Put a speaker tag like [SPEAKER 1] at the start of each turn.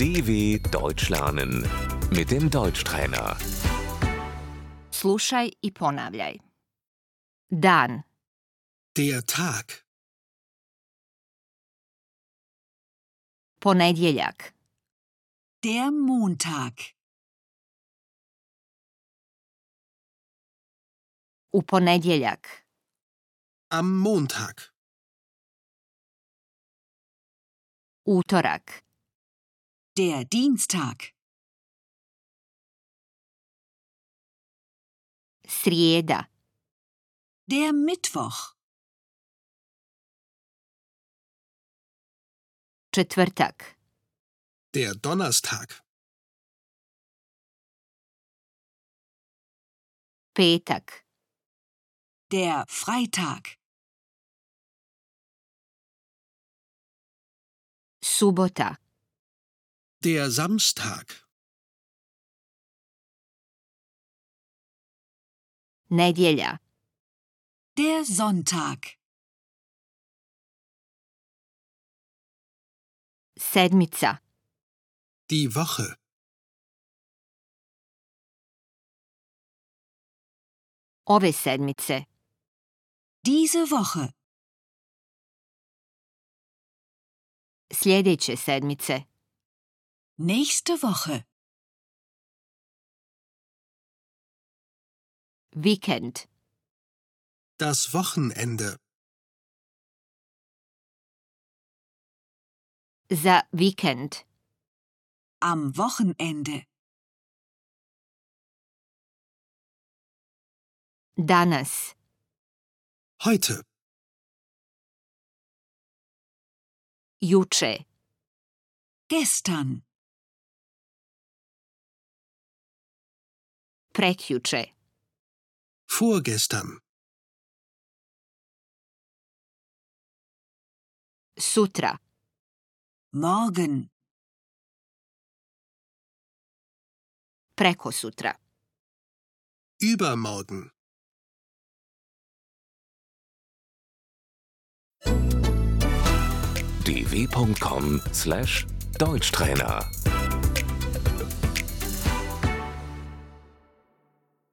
[SPEAKER 1] DW Deutsch lernen mit dem Deutschtrainer.
[SPEAKER 2] Slušaj i ponavljaj. Dan,
[SPEAKER 3] Der Tag.
[SPEAKER 2] ponedjeljak,
[SPEAKER 4] Der Montag.
[SPEAKER 2] u ponedjeljak,
[SPEAKER 3] Am Montag.
[SPEAKER 2] utorak,
[SPEAKER 4] Der Dienstag.
[SPEAKER 2] srijeda,
[SPEAKER 4] Der Mittwoch.
[SPEAKER 2] četvrtak,
[SPEAKER 3] Der Donnerstag.
[SPEAKER 2] petak,
[SPEAKER 4] Der Freitag.
[SPEAKER 2] subota,
[SPEAKER 3] Der Samstag.
[SPEAKER 2] nedjelja,
[SPEAKER 4] Der Sonntag.
[SPEAKER 2] sedmica,
[SPEAKER 3] Die Woche.
[SPEAKER 2] ove sedmice,
[SPEAKER 4] Diese Woche.
[SPEAKER 2] sljedeće sedmice,
[SPEAKER 4] Nächste Woche.
[SPEAKER 2] vikend,
[SPEAKER 3] Das Wochenende.
[SPEAKER 2] za vikend,
[SPEAKER 4] Am Wochenende.
[SPEAKER 2] danas,
[SPEAKER 3] Heute.
[SPEAKER 2] juče,
[SPEAKER 4] Gestern.
[SPEAKER 2] prekjuče,
[SPEAKER 3] Vorgestern.
[SPEAKER 2] sutra,
[SPEAKER 4] Morgen.
[SPEAKER 2] prekosutra,
[SPEAKER 3] Übermorgen.
[SPEAKER 1] dw.com/deutschtrainer